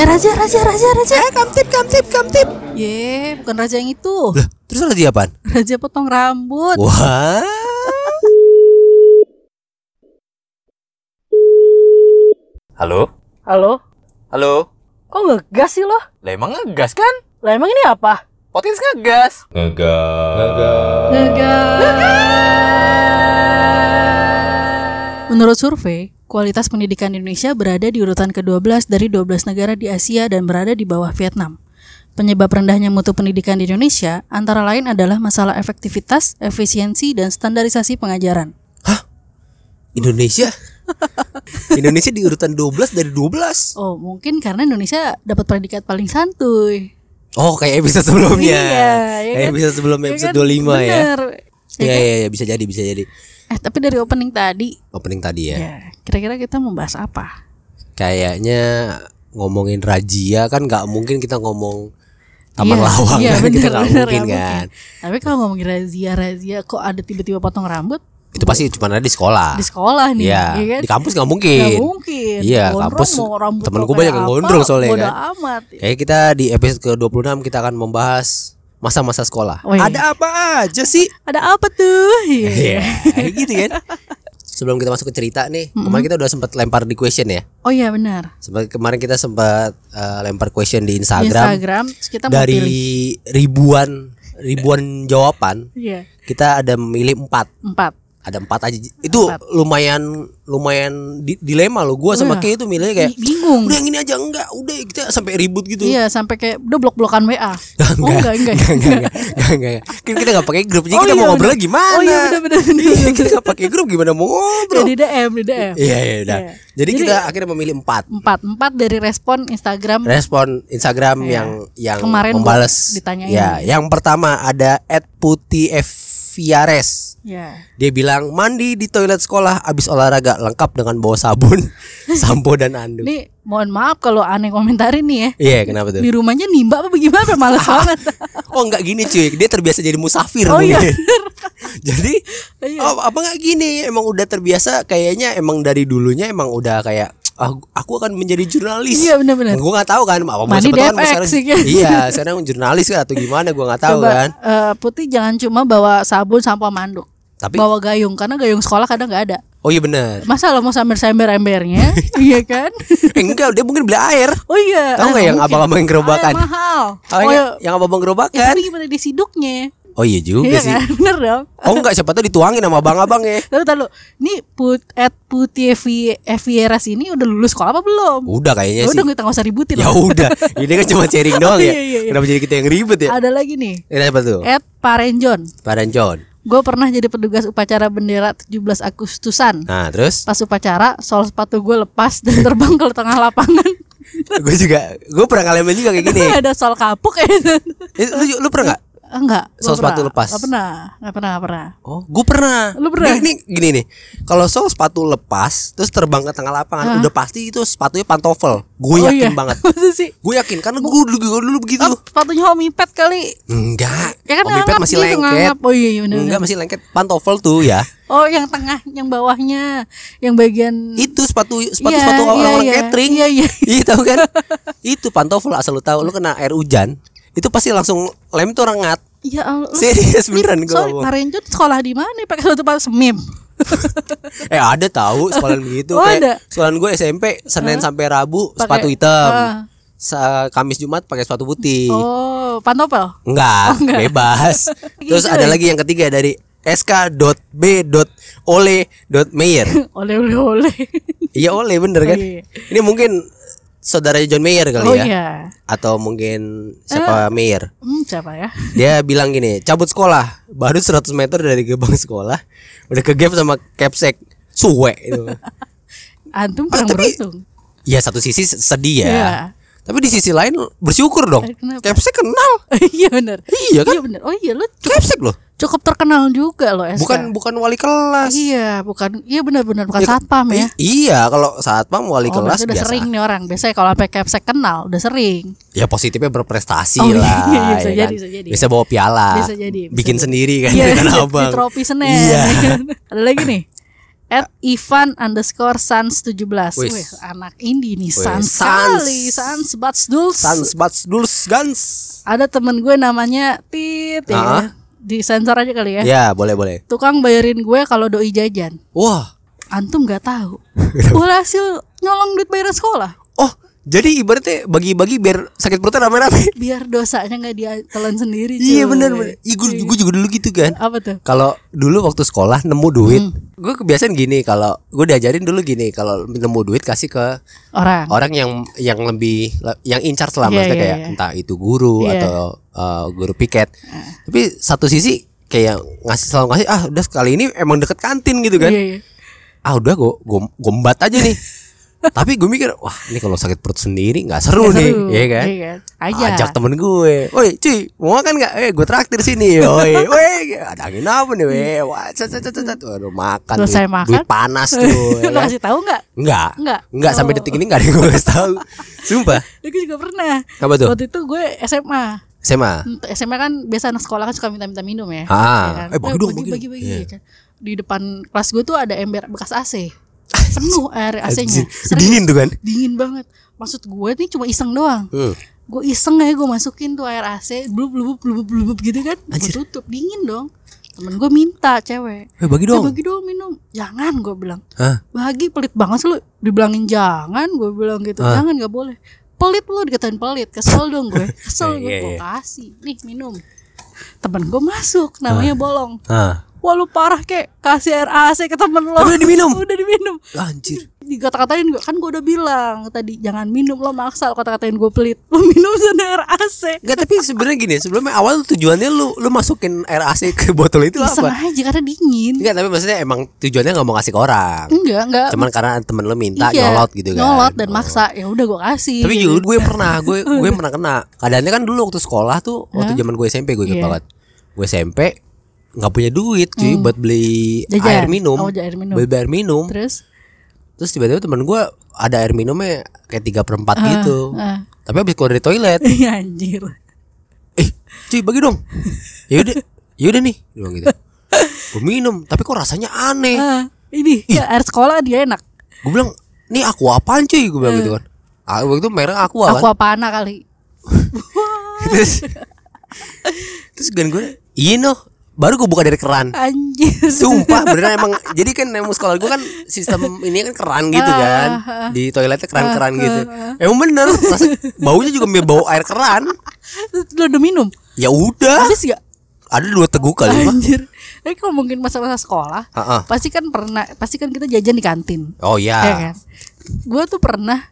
Eh raja, raja, raja, raja. Eh kamtip, kamtip, kamtip. Ye, bukan raja yang itu. Lah, terus raja apaan? Raja potong rambut. Wah. Halo? Halo? Halo? Kok ngegas sih lo? Lah emang ngegas kan? Lah emang ini apa? Podcast ngegas. Menurut survei, kualitas pendidikan Indonesia berada di urutan ke-12 dari 12 negara di Asia dan berada di bawah Vietnam. Penyebab rendahnya mutu pendidikan di Indonesia antara lain adalah masalah efektivitas, efisiensi, dan standarisasi pengajaran. Indonesia? Indonesia di urutan 12 dari 12. Oh, mungkin karena Indonesia dapat predikat paling santuy. Oh, kayak episode sebelumnya. Iya, ya kayak kan? episode sebelum Iya Ya episode kan? 25 ya. Bener. Ya Iya, kan? iya, ya, bisa jadi, bisa jadi. Eh, tapi dari opening tadi, Opening tadi ya. ya kira-kira kita membahas apa? Kayaknya ngomongin razia kan nggak mungkin kita ngomong Taman Iya, Lawang iya, kan kita bener, nggak bener, mungkin nggak kan. mungkin. Tapi kalau ngomongin razia, razia kok ada tiba-tiba potong rambut Itu pasti cuma ada di sekolah. di sekolah nih, Ah, Iya, ya kan? di kampus nggak Nggak mungkin. mungkin. Iya, Gondrong kampus mau rambut temen lo gue banyak kayak apa, yang gondrong soalnya bodo kan. amat. Kayak kita di episode ke-26 kita akan membahas masa-masa sekolah. Oh, iya. Ada apa aja sih? Ada apa tuh? Iya. Iya, kayak gitu kan. Sebelum kita masuk ke cerita nih, kemarin kita udah sempat lempar di question ya. Oh iya benar. Sempat kemarin kita sempat eh, lempar question di Di Instagram, Instagram terus kita mau dari pilih. ribuan ribuan jawaban, Iya. kita ada memilih empat. Empat. Ada empat aja. Itu lumayan lumayan di- dilema loh. Gua sama Kay itu milihnya Bi- kayak Iya. bingung. Udah yang ini aja enggak, udah kita sampai ribut gitu. Iya sampai kayak udah blok-blokan WA. Enggak, oh enggak enggak. enggak, enggak, enggak, enggak, enggak. Kan kita enggak pakai grup, jadi Oh kita iya, mau ngobrol bener. gimana? Oh iya, bener, bener, bener, Iya, bener. kita enggak pakai grup gimana mau ngobrol? Di DM, di DM. Iya, iya, udah. Iya. Jadi, Jadi- kita akhirnya memilih empat Empat, empat dari respon Instagram respon Instagram yang yang Iya. Kemarin membalas. gua ditanyain. Ya, yang pertama ada @putihfiares. Ya. Dia bilang mandi di toilet sekolah abis olahraga lengkap dengan bawa sabun, sampo dan anduk. Ini mohon maaf kalau aneh komentarin nih ya. Iya, kenapa Di tuh? rumahnya nimba apa bagaimana males banget. Oh, enggak gini cuy. Dia terbiasa jadi musafir Oh iya. mungkin. Jadi Iya. oh, apa nggak gini? Emang udah terbiasa kayaknya emang dari dulunya emang udah kayak "Ah, aku akan menjadi jurnalis. Iya, benar-benar. Gue nggak tahu kan apa Mandi siapa tahu DFX, sekarang, sih, kan? Iya, sekarang jurnalis kan atau gimana gue nggak tahu Coba, kan. eh, putih jangan cuma bawa sabun sampo manduk. Tapi Bawa gayung karena gayung sekolah kadang nggak ada. oh iya benar. Masa lo mau samber-samber embernya? iya kan? Eh, enggak, dia mungkin beli air. Oh iya. Tahu nggak Ah, yang mungkin. abang-abang yang gerobakan? Ah, mahal. Oh, oh, iya, iya. yang abang-abang Ya, gerobakan. tapi gimana disiduknya? Oh iya juga Iya sih. kan? Bener dong. Oh enggak, siapa tahu dituangin sama abang-abang ya. Lalu tahu ini put at putih Evi- Evieras ini udah lulus sekolah apa belum? Udah kayaknya udah Oh, sih. kita nggak usah ributin. Ya lah. udah, ini kan cuma sharing doang Iya, ya. iya, iya. Kenapa jadi kita yang ribet ya? Ada lagi nih. Ini apa tuh? At Parenjon. Badan John. Gue pernah jadi petugas upacara bendera 17 Agustusan. Nah, terus Pas upacara, sol sepatu gue lepas dan terbang ke tengah lapangan. gue juga gue pernah ngalamin juga kayak gini. Ada sol kapuk ya. Eh, lu, lu pernah nggak? Enggak. Sol sepatu lepas. Gak pernah. Gak pernah, gak pernah. Oh, gue pernah. Lu pernah? Ini, ini gini nih. Kalau sol sepatu lepas terus terbang ke tengah lapangan, udah pasti itu sepatunya pantofel. Gue Oh, iya. yakin banget. Maksud sih? Gue yakin karena gue dulu, gua dulu begitu. Oh, sepatunya homipad kali. Enggak. Ya kan Om Ipet nganggap masih gitu, lengket. nganggap. Oh iya, iya bener, Enggak bener. masih lengket pantofel tuh ya. Oh, yang tengah, yang bawahnya, yang bagian Itu sepatu Iya, sepatu sepatu iya, orang-orang iya. catering. Iya, iya. Iya, tahu kan? itu pantofel asal lu tahu lu kena air hujan, itu pasti langsung lem tuh rengat. Ya Allah. Serius, beneran gua Sorry, ngomong. Pak Renjot sekolah di mana? Pakai sepatu pas semim. Eh ada tahu sekolah begitu Oh, ada. kayak sekolahan gue SMP Senin sampai Rabu Pakai- sepatu hitam. Ah. Sa- Kamis Jumat pakai sepatu putih. Oh, pantopel. Enggak, bebas. Terus Gitu ada ya. lagi yang ketiga dari sk.b.ole.meyer. Oleh oleh oleh. Iya Ole bener kan? Oh, iya. Ini mungkin saudara John Mayer kali Oh ya. iya. Atau mungkin siapa Mayer. Hmm, siapa ya? Dia bilang gini, cabut sekolah, baru 100 meter dari gerbang sekolah, udah ke gap sama capsek. Suwe itu. Antum Ah, kurang tapi- beruntung. Ya satu sisi sedih ya. Iya. Tapi di sisi lain bersyukur dong. Eh, kenapa? Capsek kenal. iya benar. Iya kan? Iya benar. Oh iya, lu Capsek loh. cukup terkenal juga lo SK. Bukan bukan wali kelas. Iya, bukan. Iya benar-benar bukan Ya, satpam ya. I- iya, kalau satpam wali Oh, kelas berarti udah biasa. sering nih orang. Biasanya kalau sampai capsek kenal, udah sering. Ya positifnya berprestasi Oh, iya, lah. iya, iya, bisa ya jadi, bisa jadi. Bisa bawa piala. Bisa jadi, bisa bikin jadi. sendiri kan Iya, di Tanah di Abang. trofi Senen. Iya. Ada lagi nih. At Ivan underscore Sans 17 Wis. Wih, anak indie nih Wih, Sans Sans. sekali Sans Bats Duls Sans bats duls gans. Ada temen gue namanya Tit ya. Ah. Di sensor aja kali ya Ya boleh boleh. Tukang bayarin gue kalau doi jajan Wah. Antum gak tahu Berhasil nyolong duit bayaran sekolah Oh jadi ibaratnya bagi-bagi biar sakit perutnya rame-rame. Biar dosanya gak ditelan sendiri Iya cuy. benar benar. Iya gue gue juga dulu gitu kan. Apa tuh? Kalau dulu waktu sekolah nemu duit, Hmm. gue kebiasaan gini kalau gue diajarin dulu gini kalau nemu duit kasih ke Orang orang yang yang lebih yang in charge lah Iya, maksudnya iya, kayak iya. entah itu guru Iya. atau uh, guru piket tapi satu sisi kayak ngasih selalu ngasih ah udah sekali ini emang deket kantin gitu kan Iya, iya. ah udah gue gombat aja nih tapi gue mikir wah ini kalau sakit perut sendiri nggak seru Nggak nih seru, ya kan iya kan? Ajak. ajak temen gue, woi cuy mau makan nggak? Eh gue traktir sini, woi, woi ada angin apa nih, woi, wah, cet, cet, cet, cet, cet. Waduh, makan, Hmm. Selesai duit, makan. duit panas tuh, ya Lo kan? kasih tahu gak? Enggak. Enggak. Enggak sampai Oh. detik ini enggak ada yang gue kasih tahu. Sumpah. Gue Ya, juga pernah Apa tuh? Waktu itu gue SMA SMA. Ent- SMA kan biasa anak sekolah kan suka minta-minta minum ya. Ah. Ya kan? Eh, bagi dong, bagi, bagi bagi, dong. bagi, Iya. ya kan. Di depan kelas gue tuh ada ember bekas AC. Penuh air AC-nya. Anjir, Dingin tuh kan. Dingin banget. Maksud gue nih cuma iseng doang. Hmm. Gue iseng aja gue masukin tuh air AC, blub blub blub blub gitu kan. Gue Anjir. tutup, dingin dong. Temen gue minta cewek. Eh "Eh, bagi dong. bagi dong minum. Jangan gue bilang. Hah? Bagi pelit banget sih lu. Dibilangin jangan, gue bilang gitu. Jangan nggak boleh. Pelit lu dikatain pelit. Kesel dong gue. Kesel gue Iya, iya, gue iya. kasih. Nih minum. Temen gue masuk, namanya bolong. Hah. Wah lu parah kek, kasih air AC ke temen lo. Tapi udah diminum. udah diminum. Anjir. Dikata-katain gue kan gue udah bilang tadi jangan minum lo maksa lo kata-katain gue pelit. Lo minum sana air AC. Enggak tapi sebenarnya gini, sebelumnya awal tujuannya lu lu masukin air AC ke botol itu Iseng apa? aja karena dingin. Enggak, tapi maksudnya emang tujuannya nggak mau kasih ke orang. Enggak, enggak. Cuman karena temen lu minta Iya, nyolot gitu kan. Nyolot dan Oh. maksa. Ya udah gue kasih. Tapi juga iya. gue pernah, gue gue pernah kena. Keadaannya kan dulu waktu sekolah tuh, waktu zaman gue SMP gue inget Iya. Hmm. banget. Gue SMP nggak punya duit cuy buat beli Jajan. air minum, Oh, air minum. beli air minum. Terus Terus tiba-tiba teman gue ada air minumnya kayak tiga perempat gitu. ah. Tapi habis keluar dari toilet, Iya anjir. eh cuy bagi dong. "Ya Yaudah, yaudah nih, dia bilang gitu. Gue minum, tapi kok rasanya aneh. Ah, ini ya, air sekolah dia enak. Gue bilang, nih aku apaan cuy? Gue bilang gitu kan. Ah, waktu itu merek aku kan. Aku apa anak kali. terus Gitu. Ah. terus gue gue iya noh baru gue buka dari keran Anjir. sumpah beneran emang jadi kan emang sekolah gue kan sistem ini kan keran Ah, gitu kan di toiletnya keran-keran gitu emang bener rasa- baunya juga mirip bau air keran Lu udah minum? ya udah Habis gak? ada dua teguk kali mah Anjir. Tapi kalau mungkin masa-masa sekolah, Ha-ha. pasti kan pernah pasti kan kita jajan di kantin. oh Ya ya kan? Gua tuh pernah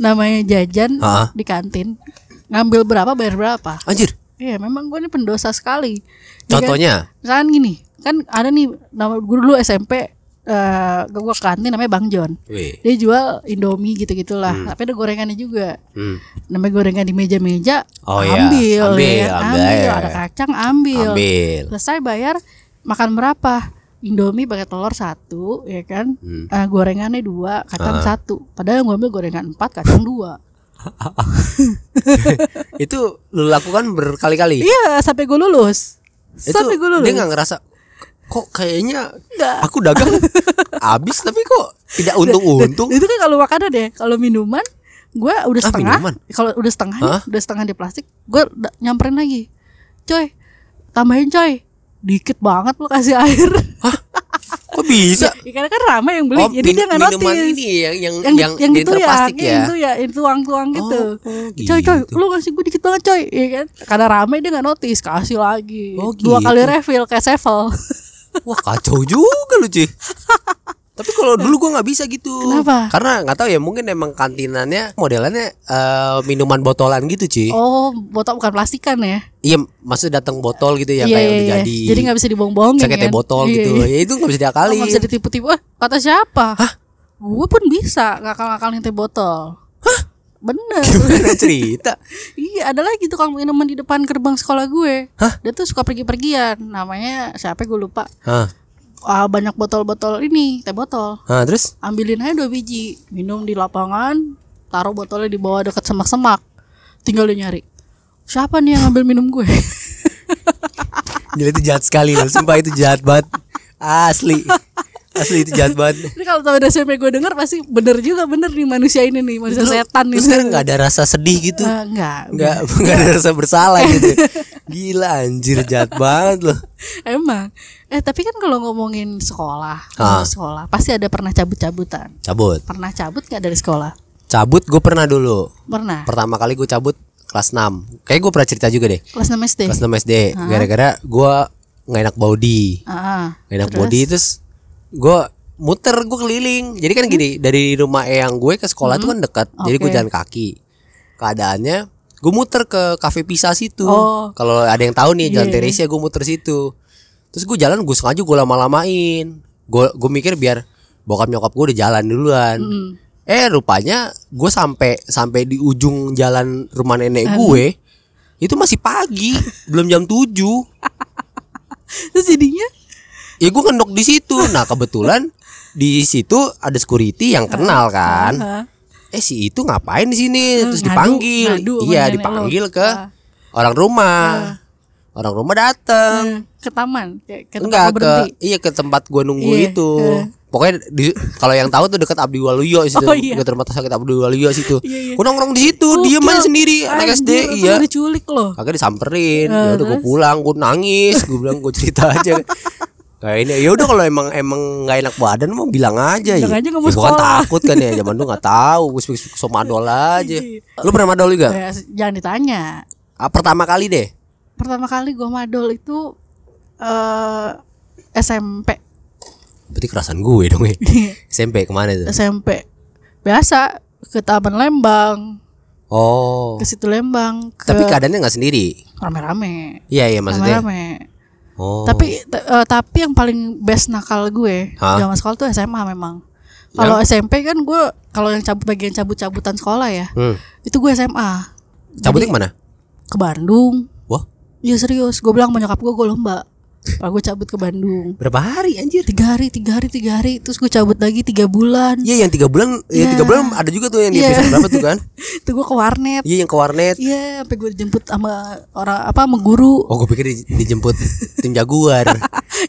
namanya jajan Ha-ha. di kantin, ngambil berapa bayar berapa. anjir Iya, memang gue ini pendosa sekali. Ya kan? contohnya Misalkan gini, kan ada nih nama guru dulu SMP eh gue ke kantin namanya Bang John. Wih. Dia jual Indomie gitu-gitulah, tapi ada gorengannya juga. Hmm. Namanya gorengan di meja-meja, Oh, ambil, iya. Ambil, ya kan? ambil. ambil, ada kacang ambil. ambil Selesai bayar makan berapa? Indomie pakai telur satu, ya kan? Hmm. Eh, gorengannya dua, Ah. kacang satu. Padahal gue ambil gorengan empat, kacang dua. itu lu lakukan berkali-kali Iya, sampai gue lulus. itu sampai gue lulus. dia nggak ngerasa kok kayaknya Nggak. aku dagang habis tapi kok tidak untung-untung Itu kan kalau makanan ya, kalau minuman gue udah Ah, setengah. minuman? kalau udah setengah, nih, Hah? udah setengah di plastik, gue nyamperin lagi. Coy, tambahin coy. Dikit banget lo kasih air. kok bisa Oh, Ya, karena kan ramai yang beli, jadi min- dia nggak minuman notice. ini yang yang yang yang, yang di gitu ya, terplastik ya. yang itu ya, yang tuang-tuang gitu. oh, Coy, coy, gitu. lu ngasih gue dikit banget coy, ya kan? Karena rame dia nggak notice, kasih lagi. Oh, Dua gitu. kali refill kayak sevel. Wah kacau juga lu cuy. Tapi kalau dulu gua nggak bisa gitu. Kenapa? Karena nggak tahu ya mungkin emang kantinannya modelannya eh, minuman botolan gitu cuy. oh, botol bukan plastikan ya? Iya, maksudnya datang botol gitu ya Iya, iya, kayak udah iya. jadi. Jadi nggak bisa dibohong-bohongin. Caketnya kan? botol Iya, gitu. iya. Ya itu nggak bisa Lo diakali. nggak bisa ditipu-tipu eh kata siapa Hah? gue pun bisa ngakal-ngakalin teh botol bener Gimana cerita? iya ada lagi tukang minuman di depan gerbang sekolah gue dia tuh suka pergi-pergian namanya siapa gue lupa Hah. Ah, banyak botol-botol ini teh botol Hah, terus ambilin aja dua biji minum di lapangan taruh botolnya di bawah dekat semak-semak tinggal dia nyari siapa nih yang ngambil minum gue Gila itu jahat sekali loh Sumpah itu jahat banget Asli asli itu jahat banget Ini kalau tahu SMP gue denger pasti bener juga bener nih manusia ini nih manusia Lu- setan lu ini. sekarang nggak ada rasa sedih gitu Eh, enggak, nggak nggak ada rasa bersalah gitu gila anjir jahat banget loh emang. Eh tapi kan kalau ngomongin sekolah, Ah. sekolah pasti ada pernah cabut-cabutan. cabut Pernah cabut nggak dari sekolah? cabut gue pernah dulu Pernah. pertama kali gue cabut kelas 6 kayak gue pernah cerita juga deh Kelas 6 SD. kelas 6 SD gara-gara gue nggak enak body Ah, Gak enak body terus gue muter gue keliling jadi kan gini dari rumah eyang gue ke sekolah tuh kan dekat jadi Hmm? gue Oke. jalan kaki keadaannya gue muter ke kafe pisah situ Oh. iya. kalau ada yang tahu nih jalan Teresia gue muter situ terus gue jalan gue sengaja gue lama-lamain gue gue mikir biar bokap nyokap gue udah jalan duluan Hmm. eh rupanya gue sampai sampai di ujung jalan rumah nenek gue itu masih pagi belum jam 7 terus jadinya ya gue ngendok di situ nah kebetulan di situ ada security yang kenal kan eh si itu ngapain di sini terus Hmm, ngadu- dipanggil ngadu sama iya nenek dipanggil lo. Ah. ke orang rumah orang rumah datang eh, ke taman, kayak ke tempat enggak lo ke berhenti. iya ke tempat gue nunggu Iya, itu pokoknya di- kalau yang tahu tuh dekat Abdi Waluyo situ Oh, iya. dekat rumah sakit Abdi Waluyo situ Iya, iya. gue nongkrong di situ diem aja sendiri anak SD iya Udah culik loh. Kagak disamperin. Ah, ya udah gue pulang, gue nangis, gue bilang gue cerita aja. Kayaknya ya udah kalau emang emang nggak enak badan mau bilang aja ya. Bilang aja nggak mau Ya, gua kan sekolah. takut kan ya zaman dulu nggak tahu, gue suka suka madol aja. Lu pernah madol juga? Ya, jangan ditanya. Ah, pertama kali deh. Pertama kali gue madol itu eh SMP. Berarti kerasan gue dong ya. SMP kemana tuh? SMP. Biasa ke Taman Lembang, Oh. ke situ Lembang, ke Tapi keadaannya nggak sendiri. rame-rame. Iya iya maksudnya. Rame-rame. Oh. Tapi t- eh, tapi yang paling best nakal gue Hah? zaman sekolah tuh SMA memang. Kalau SMP kan gue kalau yang cabut bagian cabut-cabutan sekolah ya, Hmm. itu gue SMA Cabutnya kemana? ke Bandung. Wah, Ya serius, gue bilang sama nyokap gue gue lomba. Kalau gue cabut ke Bandung berapa hari anjir? tiga hari, tiga hari, tiga hari, terus gue cabut lagi tiga bulan. Iya yang tiga bulan, ya tiga bulan ada juga tuh yang di Iya. episode berapa tuh kan? Itu gue ke warnet. Iya yang ke warnet. Iya, sampai gue dijemput sama orang apa, sama guru. Oh, gue pikir di- dijemput tim jaguar.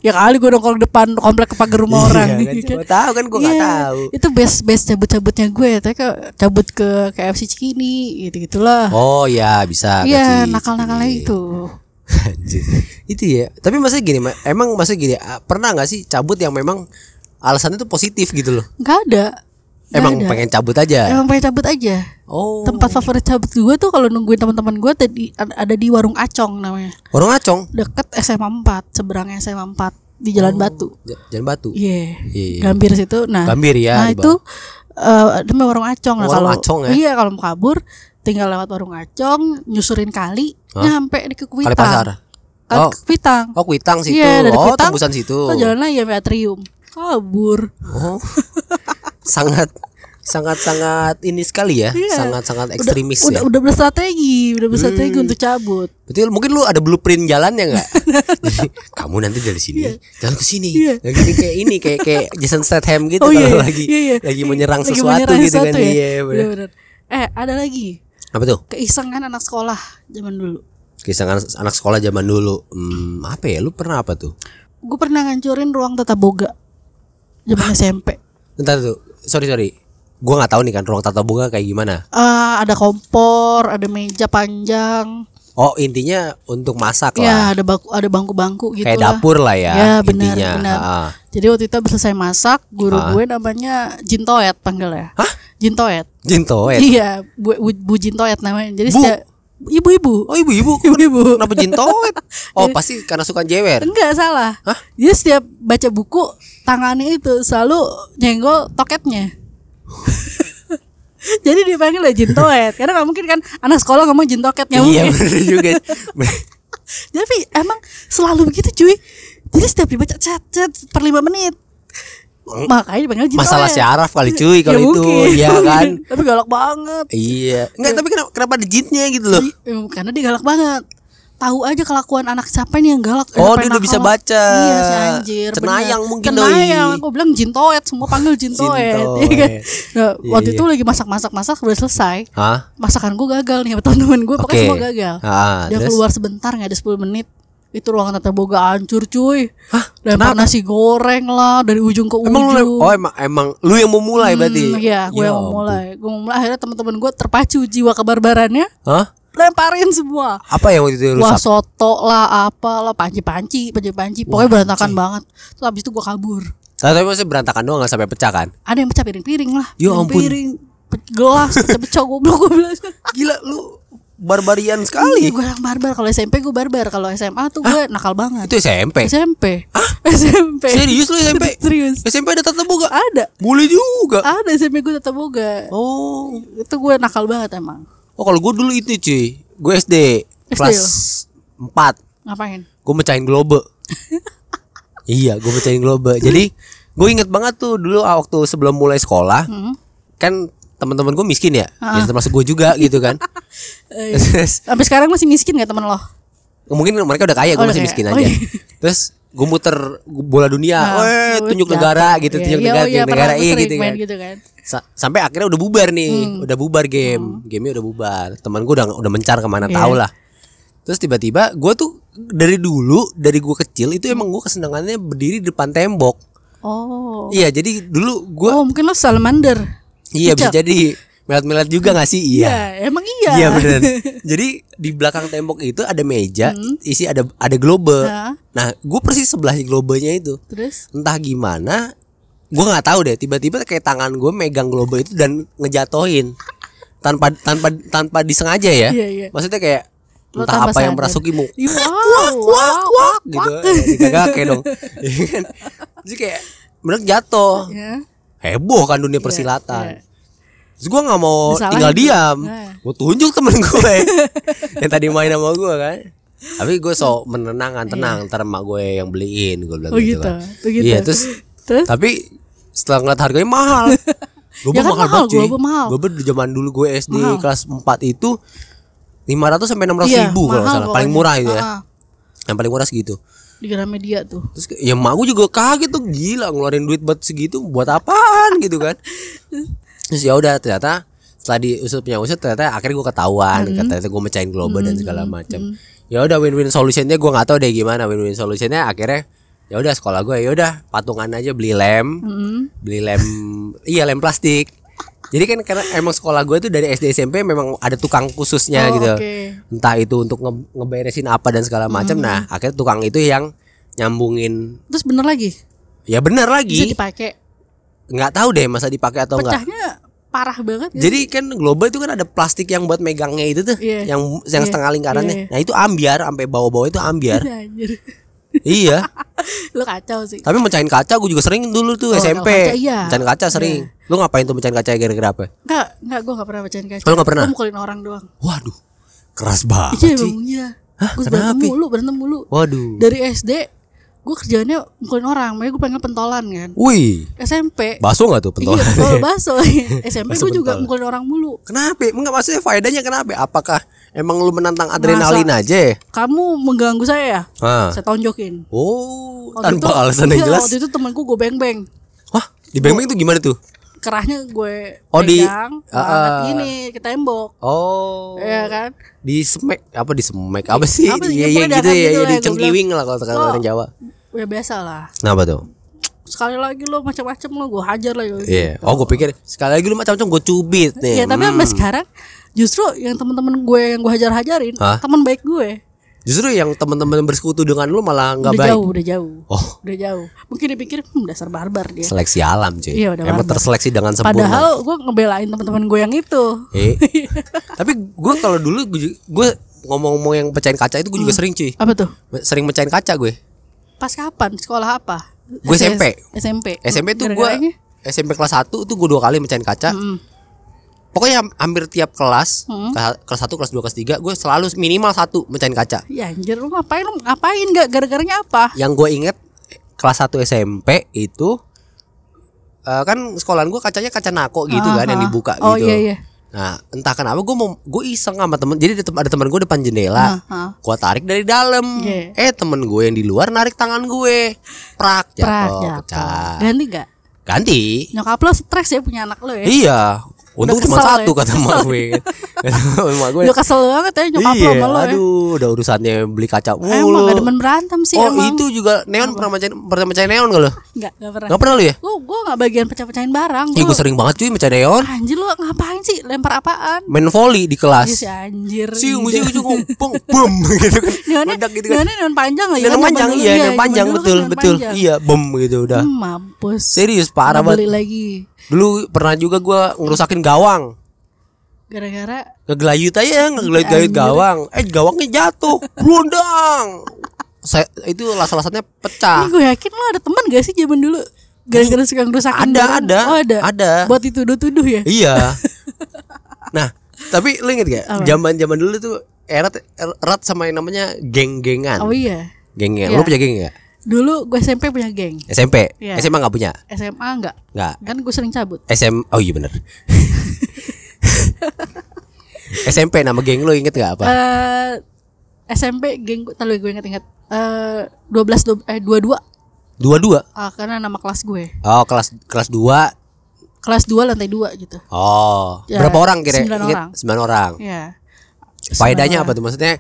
ya kali gue nongkrong depan komplek ke pagar rumah orang. Iya kan, Iya kan? siapa tahu kan gue nggak Iya, tahu. Itu best best cabut-cabutnya gue, tapi ke cabut ke KFC Cikini gitu gitulah. Oh ya bisa. Iya, kasih. nakal-nakalnya itu. Anjir. Itu ya. Tapi maksudnya gini, Ma- emang maksudnya gini, ah, pernah nggak sih cabut yang memang alasannya tuh positif gitu loh? Nggak ada. Nggak Emang ada. pengen cabut aja. Emang pengen cabut aja. Oh. Tempat favorit cabut gue tuh kalau nungguin teman-teman gue tadi ada di warung Acong namanya. Orang acong. Deket SMA 4, seberangnya SMA 4 di Jalan Oh. Batu. J- Jalan batu. Iya. Iya, iya. Gambir situ. Nah. Gambir ya, Nah, di itu eh ada namanya warung acong nah, Warung kalau Acong ya? Iya, kalau mau kabur tinggal lewat warung acong, nyusurin kali, nyampe di ke Kuitang. Kali pasar. Kali Oh. ke Kuitang. Oh kuitang situ. Iya, dari oh Kuitang, tembusan situ. Oh, jalan lagi sampai atrium. Kabur. Oh. sangat sangat sangat ini sekali ya. Iya. Sangat sangat ekstremis udah, ya. Hmm. udah berstrategi, udah berstrategi untuk cabut. Betul, mungkin lu ada blueprint jalannya nggak? Jadi, Kamu nanti dari sini jalan ke sini. Lagi ini kayak ini kayak kayak Jason Statham gitu Oh, iya, kalau lagi lagi menyerang sesuatu gitu kan. dia Iya, ya? bener. Eh, ada lagi Apa tuh? keisengan anak sekolah zaman dulu. Kisah anak, anak sekolah zaman dulu. Hmm, apa ya? Lu pernah apa tuh? Gue pernah ngancurin ruang tata boga zaman SMP. Bentar tuh. Sorry, sorry. Gua nggak tahu nih kan ruang tata bunga kayak gimana. Eh, ada kompor, ada meja panjang, Oh, intinya untuk masak lah. ya ada baku, ada bangku-bangku gitu kayak lah. dapur lah ya, Ya, benar, intinya. benar. Ah. Jadi waktu itu habis selesai masak, guru gue namanya Jintoet panggilnya. Hah? Jintoet. Jintoet. Iya, Bu, Bu, Bu Jintoet namanya. Jadi Bu. setiap ibu-ibu. Oh, ibu-ibu. Ibu-ibu. Kenapa jintoet? Oh, pasti karena suka jewer. Enggak salah. Hah? Dia setiap baca buku tangannya itu selalu nyenggol toketnya. Jadi dipanggil lah Jintoet karena nggak mungkin kan anak sekolah ngomong Jintoket nggak Iya, mungkin. benar juga. Tapi emang selalu begitu cuy. Jadi setiap dibaca chat chat per lima menit. Makanya dipanggil Jintoet. Hmm? masalah syaraf kali Gitu Ya cuy kalau itu mungkin, Ya iya mungkin. kan Tapi galak banget. iya enggak tapi kenapa kenapa ada jinnya gitu loh Ya, karena dia galak banget. Tahu aja kelakuan anak siapa nih yang galak. Siapa Oh, dia yang udah bisa nakal. baca. Iya, si anjir. Cenayang mungkin, Cenayang. doi. Aku bilang jintoet, semua panggil jintoet. Iya kan? Jintoet. Nah, Iya, waktu iya. itu lagi masak-masak, masak udah selesai. Hah? Masakan gue gagal nih sama teman-teman gue, pokoknya Oke. semua gagal. Ah, dia terus? keluar sebentar nggak ada 10 menit. itu ruangan tata boga hancur cuy Hah? lempar nasi goreng lah dari ujung ke Emang lu ujung oh emang emang lu yang mau mulai Hmm, berarti. iya gue Ya yang ampun. mulai gue mulai akhirnya teman-teman gue terpacu jiwa kebarbarannya Hah? lemparin semua Apa yang waktu itu Wah rusak? soto lah apalah panci-panci Panci-panci Pokoknya berantakan banget Terus abis itu gue kabur Nah, tapi maksudnya berantakan doang gak sampai pecah kan? Ada yang pecah piring-piring lah Ya ampun. Piring pe- Gelas pecah-pecah goblok gue bilang Gila lu Iya barbarian sekali. gue yang barbar Kalau SMP gue barbar Kalau SMA tuh gue nakal banget itu SMP. SMP SMP Serius lu SMP? Serius Ah. SMP ada tata boga? Ada Boleh juga. Ada SMP gue tetap boga Oh. Itu gue nakal banget emang Oh kalau gue dulu itu cuy Gue SD SD Kelas lo? 4 Ngapain? Gue mecahin globe Iya gue mecahin globe Jadi gue inget banget tuh dulu ah, waktu sebelum mulai sekolah Hmm. Kan teman-teman gue miskin ya Ah. Ya termasuk gue juga gitu kan Eh, Terus, Sampai sekarang masih miskin gak temen lo? Ah, Mungkin mereka udah kaya Oh, gue udah masih kaya. miskin Oh, aja iya. Terus gue muter bola dunia Nah, Weh, gue tunjuk jatuh. negara gitu Iya, Tunjuk iya, negara, oh iya, tunjuk negara pernah iya gue gitu sering main kan gitu kan. Sa- sampai akhirnya udah bubar nih, udah bubar game, gamenya udah bubar. Teman gue udah udah mencar kemana Iya. tahu lah. Terus tiba-tiba gue tuh dari dulu dari gue kecil itu emang gue kesenangannya berdiri di depan tembok. Oh Iya jadi dulu gue Oh mungkin lo salamander iya bisa kicap. jadi melat-melat juga gak sih iya. Emang iya Iya bener. Jadi di belakang tembok itu ada meja, isi ada ada globe. Nah. Nah, gue persis sebelah globenya itu. Terus Entah gimana, gue nggak tahu deh. Tiba-tiba kayak tangan gue megang globe itu dan ngejatoin tanpa tanpa tanpa disengaja ya. Iya, iya. Maksudnya kayak Lo entah tambah apa yang sadar. merasuki mu Ih, Iya, Wow, wak wow. wak gitu. Gak kayak dong. Iya kan? Jadi kayak bener jatuh. Ya. Heboh kan dunia persilatan. iya. Terus gue gak mau Disalahin tinggal tuh. diam Nah. Gue tunjuk temen gue Yang tadi main sama gue kan Tapi gue sok menenangkan Tenang ntar emak gue yang beliin Gue Iya. bilang Oh gitu, gitu, kan tuh gitu. Iya terus Terus? Tapi setelah ngeliat harganya mahal Gue Ya kan mahal, globe mahal. Gue di zaman dulu gue SD Mahal. kelas 4 itu 500 sampai 600 Iya, ribu kalau nggak mahal salah Paling pokoknya. murah itu ya Ah, ah. Yang paling murah segitu Di Gramedia tuh. Terus kayak, ya emak gue juga kaget tuh gila ngeluarin duit buat segitu buat apaan gitu kan. Terus ya udah ternyata setelah diusut punya usut ternyata akhirnya gue ketahuan Mm-hmm. ternyata gue mecahin globe dan segala macam. Ya udah win-win solutionnya gue nggak tahu deh gimana win-win solutionnya akhirnya ya udah sekolah gue ya udah patungan aja beli lem Mm-hmm. beli lem iya lem plastik jadi kan karena emang sekolah gue tuh dari SD SMP memang ada tukang khususnya Oh, gitu oke. entah itu untuk nge- ngeberesin apa dan segala macam Hmm. nah akhirnya tukang itu yang nyambungin Terus bener lagi? ya benar Bisa lagi dipakai. nggak tahu deh masa dipakai atau enggak Pecahnya parah banget ya. jadi kan global itu kan ada plastik yang buat megangnya itu tuh Iya. yang Iya. yang setengah lingkarannya Iya, iya. nah itu ambiar sampai bawah-bawah itu ambiar Anjir. iya Lu kacau sih. tapi mecahin kaca gue juga sering dulu tuh Oh, kalau SMP kaca, iya. mecahin kaca sering lu ngapain tuh mecahin kaca gara-gara apa Enggak, enggak gua enggak pernah bacain kaca. Lu nggak pernah? Gua mukulin orang doang. waduh keras Iya, banget sih Bang. Iya. Hah, Gua kenapa? berantem mulu, berantem mulu. waduh Dari SD gua kerjaannya mukulin orang, makanya gua pengen pentolan kan. wih SMP baso nggak tuh pentolan Iya, kalau baso. SMP Baso gue juga pentol. mukulin orang mulu. Kenapa? Enggak maksudnya faedahnya kenapa? Apakah emang lu menantang adrenalin aja? ya? Kamu mengganggu saya ya? Ah. Saya tonjokin. Oh, Waktu tanpa itu- alasan yang iya, jelas. Waktu itu temanku gue beng-beng. Hah? Di beng-beng itu gimana tuh? Kerahnya gue Oh, di- pegang, Ah, banget ah. gini ke tembok. Oh. Iya kan? Di semek apa di semek apa sih? Apa sih? Ya, Iya iya pokoknya gitu ada ya, gitu ya lah, di gua cengkiwing lah kalau kata Lo- orang Jawa. Ya biasa lah. Kenapa tuh? Sekali lagi lo macam-macam lo gue hajar lah. Iya. Oh, gue pikir sekali lagi lu macam-macam gue cubit nih. Hmm. Ya tapi sampai sekarang justru yang teman-teman gue yang gue hajar-hajarin Hah? teman baik gue Justru yang teman-teman bersekutu dengan lu malah nggak udah baik. jauh udah jauh Oh, udah jauh mungkin dipikir hmm, dasar barbar dia seleksi alam cuy. Iya, udah Emang barbar. terseleksi dengan sempurna. padahal gue ngebelain teman-teman gue yang itu Eh. Tapi gue kalau dulu gue ngomong-ngomong yang pecahin kaca itu gue juga sering cuy. apa tuh Sering mecahin kaca gue. Pas kapan? Sekolah apa? Gue SMP. SMP. SMP tuh gue Gara-garanya? SMP kelas 1 tuh gue dua kali mecahin kaca. Pokoknya ham- hampir tiap kelas, kela- kelas 1, kelas 2, kelas 3 gue selalu minimal satu mecahin kaca. Ya anjir lu ngapain lu ngapain gak gara-garanya apa? Yang gue inget kelas 1 SMP itu eh, kan sekolahan gue kacanya kaca nako gitu kan yang Aha. dibuka Oh, gitu. iya, iya. Nah, entah kenapa gue mau gue iseng sama temen Jadi ada tem- ada temen gue depan jendela. Aha. Gue tarik dari dalam. Iya. Eh, temen gue yang di luar narik tangan gue. Prak Prak, jatuh, jatuh. pecah. Ganti gak? Ganti. Nyokap lo stres ya punya anak lo ya? Iya. Udah Untung cuma kesel satu ya. kata Kesel. mak gue. Emak gue. Lu kesel banget ya nyokap lo iya, sama lo ya. aduh, udah urusannya beli kaca mulu. Emang gak demen berantem sih oh, emang. itu juga neon pernah mecahin pernah mecahin neon gak lo? Enggak, enggak pernah. Gak pernah lo ya? Gue gue gak bagian pecah-pecahin barang. Ih, Gua- gue sering banget cuy mecahin neon. Anjir lu ngapain sih? Lempar apaan? Main volley di Iya kelas. sih anjir. Siu, siu, siu, ngumpung, bum, gitu kan. Neonnya, Meledak gitu kan. neonnya neon panjang ya, lagi. Neon panjang, iya, neon panjang, kan betul, betul. Iya, bum gitu udah. Hmm, mampus. Serius, parah Nggak beli banget. lagi. Dulu pernah juga gue ngerusakin gawang. Gara-gara ngegelayut aja ngegelayut-gelayut gawang eh gawangnya jatuh glundang saya itu las-lasannya Ini pecah gue yakin lo ada teman gak sih zaman dulu Gara-gara suka ngerusakin Ada, barang? ada, Oh ada ada. Buat dituduh-tuduh ya iya nah tapi lu inget gak zaman zaman dulu tuh erat erat sama yang namanya geng-gengan Oh iya Iya. geng-gengan lu punya geng ya? gak Dulu gue SMP punya geng SMP Iya. SMA nggak punya SMA enggak nggak Kan gue sering cabut SM oh iya bener SMP nama geng lu inget gak apa Eh SMP geng gue Tadi gue inget-inget Eh 12 du- eh 22 dua-dua Ah, Karena nama kelas gue oh kelas kelas dua Kelas 2 lantai 2 gitu Oh, Ya, berapa orang kira sembilan inget? orang. Sembilan orang. Ya Faedahnya apa tuh maksudnya?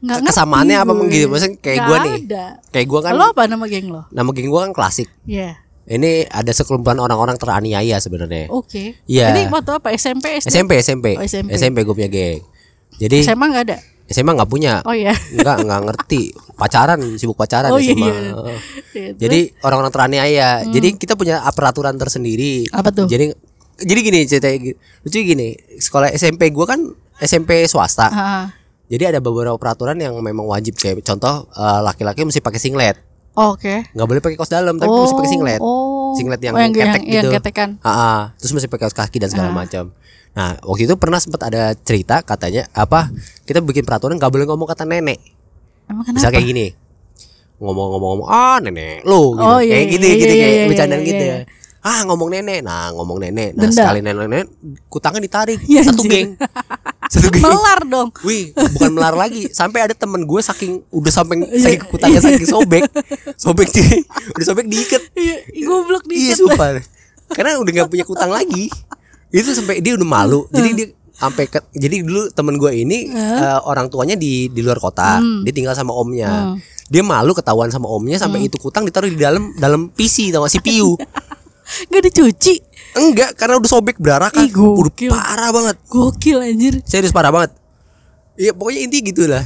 Nggak ngerti Kesamaannya apa gue. gitu? Maksudnya kayak Nggak gue nih. ada. Kayak gue kan Lo apa nama geng lo? nama geng gue kan klasik. Ya Ini ada sekelumpulan orang-orang teraniaya sebenarnya. Oke Iya. Ini waktu apa? SMP? SD? SMP, SMP. Oh, SMP. gue punya geng. Jadi SMA nggak ada? SMA nggak punya. Oh iya Nggak, nggak ngerti. Pacaran, sibuk pacaran Oh, iya, SMA. iya. Heeh. Iya, terus? Hmm. Jadi orang-orang teraniaya. Jadi kita punya peraturan tersendiri. Apa tuh? Jadi jadi gini ceritanya gi- lucu gini. Sekolah SMP gua kan SMP swasta. Ah. Jadi ada beberapa peraturan yang memang wajib kayak contoh eh, laki-laki mesti pakai singlet. Oke. nggak boleh pakai kaos dalam tapi mesti pakai singlet. Oh. Singlet yang Oh, ketek yang, gitu. Yang ketekan. Ah. Ah, terus mesti pakai kaos kaki dan segala macam. Nah, waktu itu pernah sempat ada cerita katanya apa kita bikin peraturan nggak boleh ngomong kata nenek. Emang Bisa kenapa? kayak gini. Ngomong-ngomong-ngomong, ah nenek lu gitu. Oh, iya, kayak iya, gitu iya, gitu iya, kayak iya, bercandaan iya, gitu iya. ya. Ah ngomong nenek, nah ngomong nenek, nah Denda. sekali nenek-nenek, kutangan ditarik, Ya, satu anjir. geng, satu gitu, geng. Melar dong. Wih, bukan melar lagi. Sampai ada temen gue saking udah sampai Iya. saking kekutannya saking sobek, sobek sih, udah sobek diikat. Iya, ih, goblok Iya dikit. super. Karena udah nggak punya kutang lagi. Itu sampai dia udah malu. Hmm. Jadi dia sampai ke, jadi dulu temen gue ini eh, orang tuanya di di luar kota, Hmm. dia tinggal sama omnya. Dia malu ketahuan sama omnya sampai Hmm. itu kutang ditaruh di dalam dalam PC atau CPU. Gak dicuci. Enggak, karena udah sobek berarakan. Ih, gokil. Udah parah banget. Gokil anjir. Serius parah banget. Iya, pokoknya inti gitulah.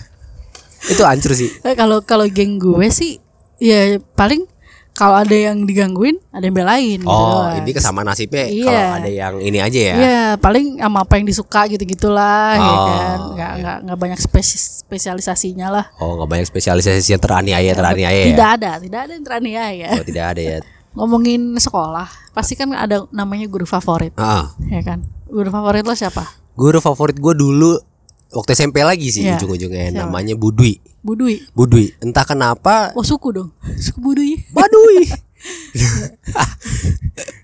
Itu hancur sih. Eh, Kalau kalau geng gue sih ya paling kalau ada yang digangguin, ada yang belain gitu Oh, doang. ini kesamaan nasibnya Iya. kalau ada yang ini aja ya. Iya, paling sama apa yang disuka gitu-gitulah ya Oh, kan. Enggak enggak enggak banyak spes- spesialisasinya lah. Oh, nggak banyak spesialisasi yang teraniaya, teraniaya ya. Tidak ada, tidak ada yang teraniaya. Oh, tidak ada ya. Ngomongin sekolah, pasti kan ada namanya guru favorit, Ah, ya kan? Guru favorit lo siapa? guru favorit gue dulu waktu SMP lagi sih Iya. ujung-ujungnya Siapa? namanya Budwi. Bu Dwi. Budwi, entah kenapa Oh suku dong, suku Bu Dwi. Badui.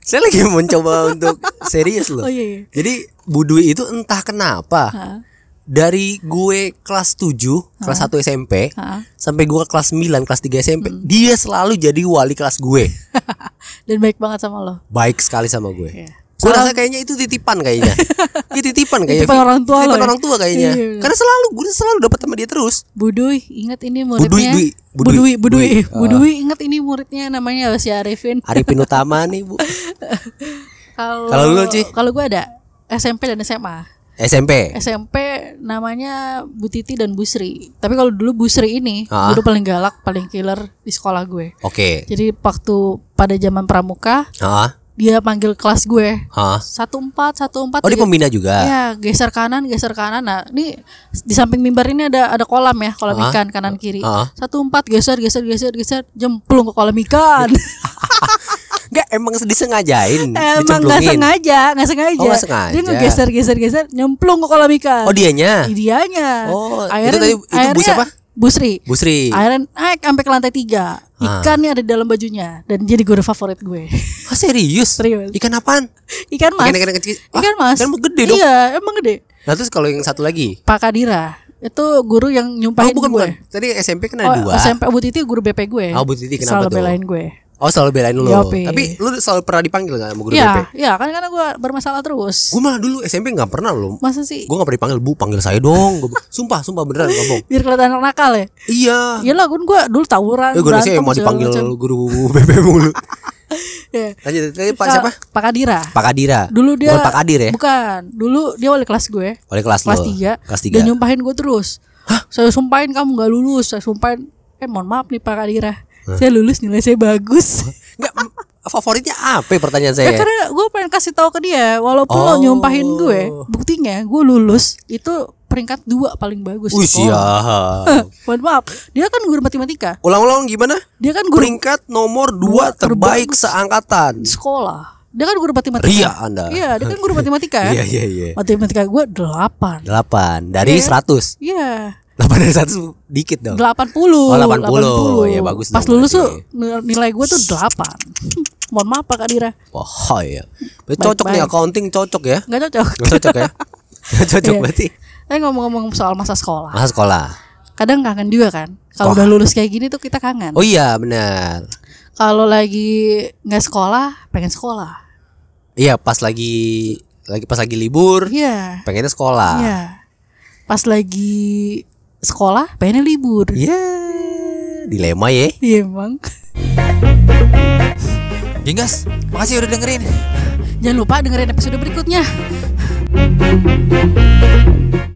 Saya lagi mencoba untuk serius loh. Oh iya. iya. Jadi Budwi itu entah kenapa Ha. dari gue kelas 7, kelas 1 SMP Ha. sampai gue kelas 9, kelas 3 SMP, Hmm. dia selalu jadi wali kelas gue. Dan baik banget sama lo. Baik sekali sama gue. Iya. Gue rasa kayaknya itu titipan kayaknya. Iya titipan kayaknya. Titipan orang tua Titipan lo ya? orang tua kayaknya. Iya, iya. Karena selalu gue selalu dapat sama dia terus. Bu Dwi, ingat ini muridnya. Dwi, Ah. Bu Bu Dwi, Dwi, Bu Dwi, Dwi. Bu Dwi, ingat ini muridnya namanya si Arifin. Arifin Utama nih, Bu. Kalau Kalau lu, Ci? kalau gue ada SMP dan SMA. SMP. SMP namanya Bu Titi dan Bu Sri. Tapi kalau dulu Bu Sri ini Ah. guru paling galak, paling killer di sekolah gue. Oke. Jadi waktu pada zaman pramuka, Hah? dia panggil kelas gue. Hah? Satu empat, satu empat. Oh, dia tiga- pembina juga. Ya, geser kanan, geser kanan. Nah, ini di samping mimbar ini ada ada kolam ya, kolam Ah. ikan kanan kiri. Ah. Satu empat geser, geser, geser, geser, jemplung ke kolam ikan. Enggak, emang disengajain, Emang nggak dicemplungin. sengaja, nggak sengaja. Oh, nggak sengaja. Dia ngegeser, geser, geser, nyemplung ke kolam ikan. Oh, Iya. dianya. Idianya. Oh, itu tadi- itu Bu siapa? Bu Sri. Bu Sri. Akhirnya naik sampai ke lantai tiga. Ah. Ikannya ada di dalam bajunya dan jadi guru favorit gue. Ah, serius? Serius. Ikan apaan? ikan mas. Ikan ikan kecil. Ah, Ikan mas. Ikan gede dong. Iya, emang gede. Nah, terus kalau yang satu lagi? Pak Kadira itu guru yang Oh, nyumpahin bukan gue. bukan. Tadi SMP kan ada Oh, dua. SMP Bu Titi guru BP gue. Oh, Bu Titi Selalu kenapa tuh? belain gue. Oh selalu belain lu. Yopi. Tapi lu selalu pernah dipanggil gak sama guru BP? Iya, iya kan karena gue bermasalah terus. Gue malah dulu SMP gak pernah lu. Masa sih? Gue gak pernah dipanggil bu, panggil saya dong. Gua- sumpah, sumpah beneran gak bohong. Biar kelihatan anak nakal ya. Iya. Iyalah kan gue gua dulu tawuran. Eh, Iya, gue rasa berantem, yang mau segala dipanggil macam. guru BP mulu. Iya. Lanjut, tadi Pak Kak- siapa? Pak Kadira. Pak Kadira. Dulu dia Bukan Pak Kadir ya? Bukan. Dulu dia wali kelas gue. Wali kelas kelas lu. 3 Kelas tiga. Dia nyumpahin gue terus. Saya sumpahin kamu nggak lulus. Saya sumpahin eh mohon maaf nih Pak Kadira. Saya lulus nilai saya bagus. Enggak, m- favoritnya apa ya pertanyaan saya? Ya, karena gue pengen kasih tahu ke dia walaupun lo Oh. nyumpahin gue buktinya gue lulus itu peringkat dua paling bagus di Wih, sekolah. siap. mohon maaf dia kan guru matematika Ulang-ulang gimana? dia kan guru Peringkat nomor 2 terbaik seangkatan. sekolah dia kan guru matematika Ria Anda. iya dia kan guru matematika Iya, iya, iya. matematika gue delapan 8 dari 100. iya 8 dari 100 dikit dong. delapan puluh Oh, 80. Ya, bagus pas dong lulus berarti. tuh nil- nilai gue tuh delapan mohon maaf Pak Kadira Wah, ya. Berarti cocok nih Baik-baik. accounting cocok ya? nggak cocok Nggak cocok ya? Nggak cocok Iya. berarti. Eh ngomong-ngomong soal masa sekolah Masa sekolah. kadang kangen juga kan kalau Wah. udah lulus kayak gini tuh kita kangen Oh iya, benar. kalau lagi nggak sekolah pengen sekolah Iya, pas lagi lagi pas lagi libur iya pengennya sekolah. iya pas lagi sekolah pengennya libur Iya. Dilema ya. iya emang Gingas, Iya, makasih udah dengerin. jangan lupa dengerin episode berikutnya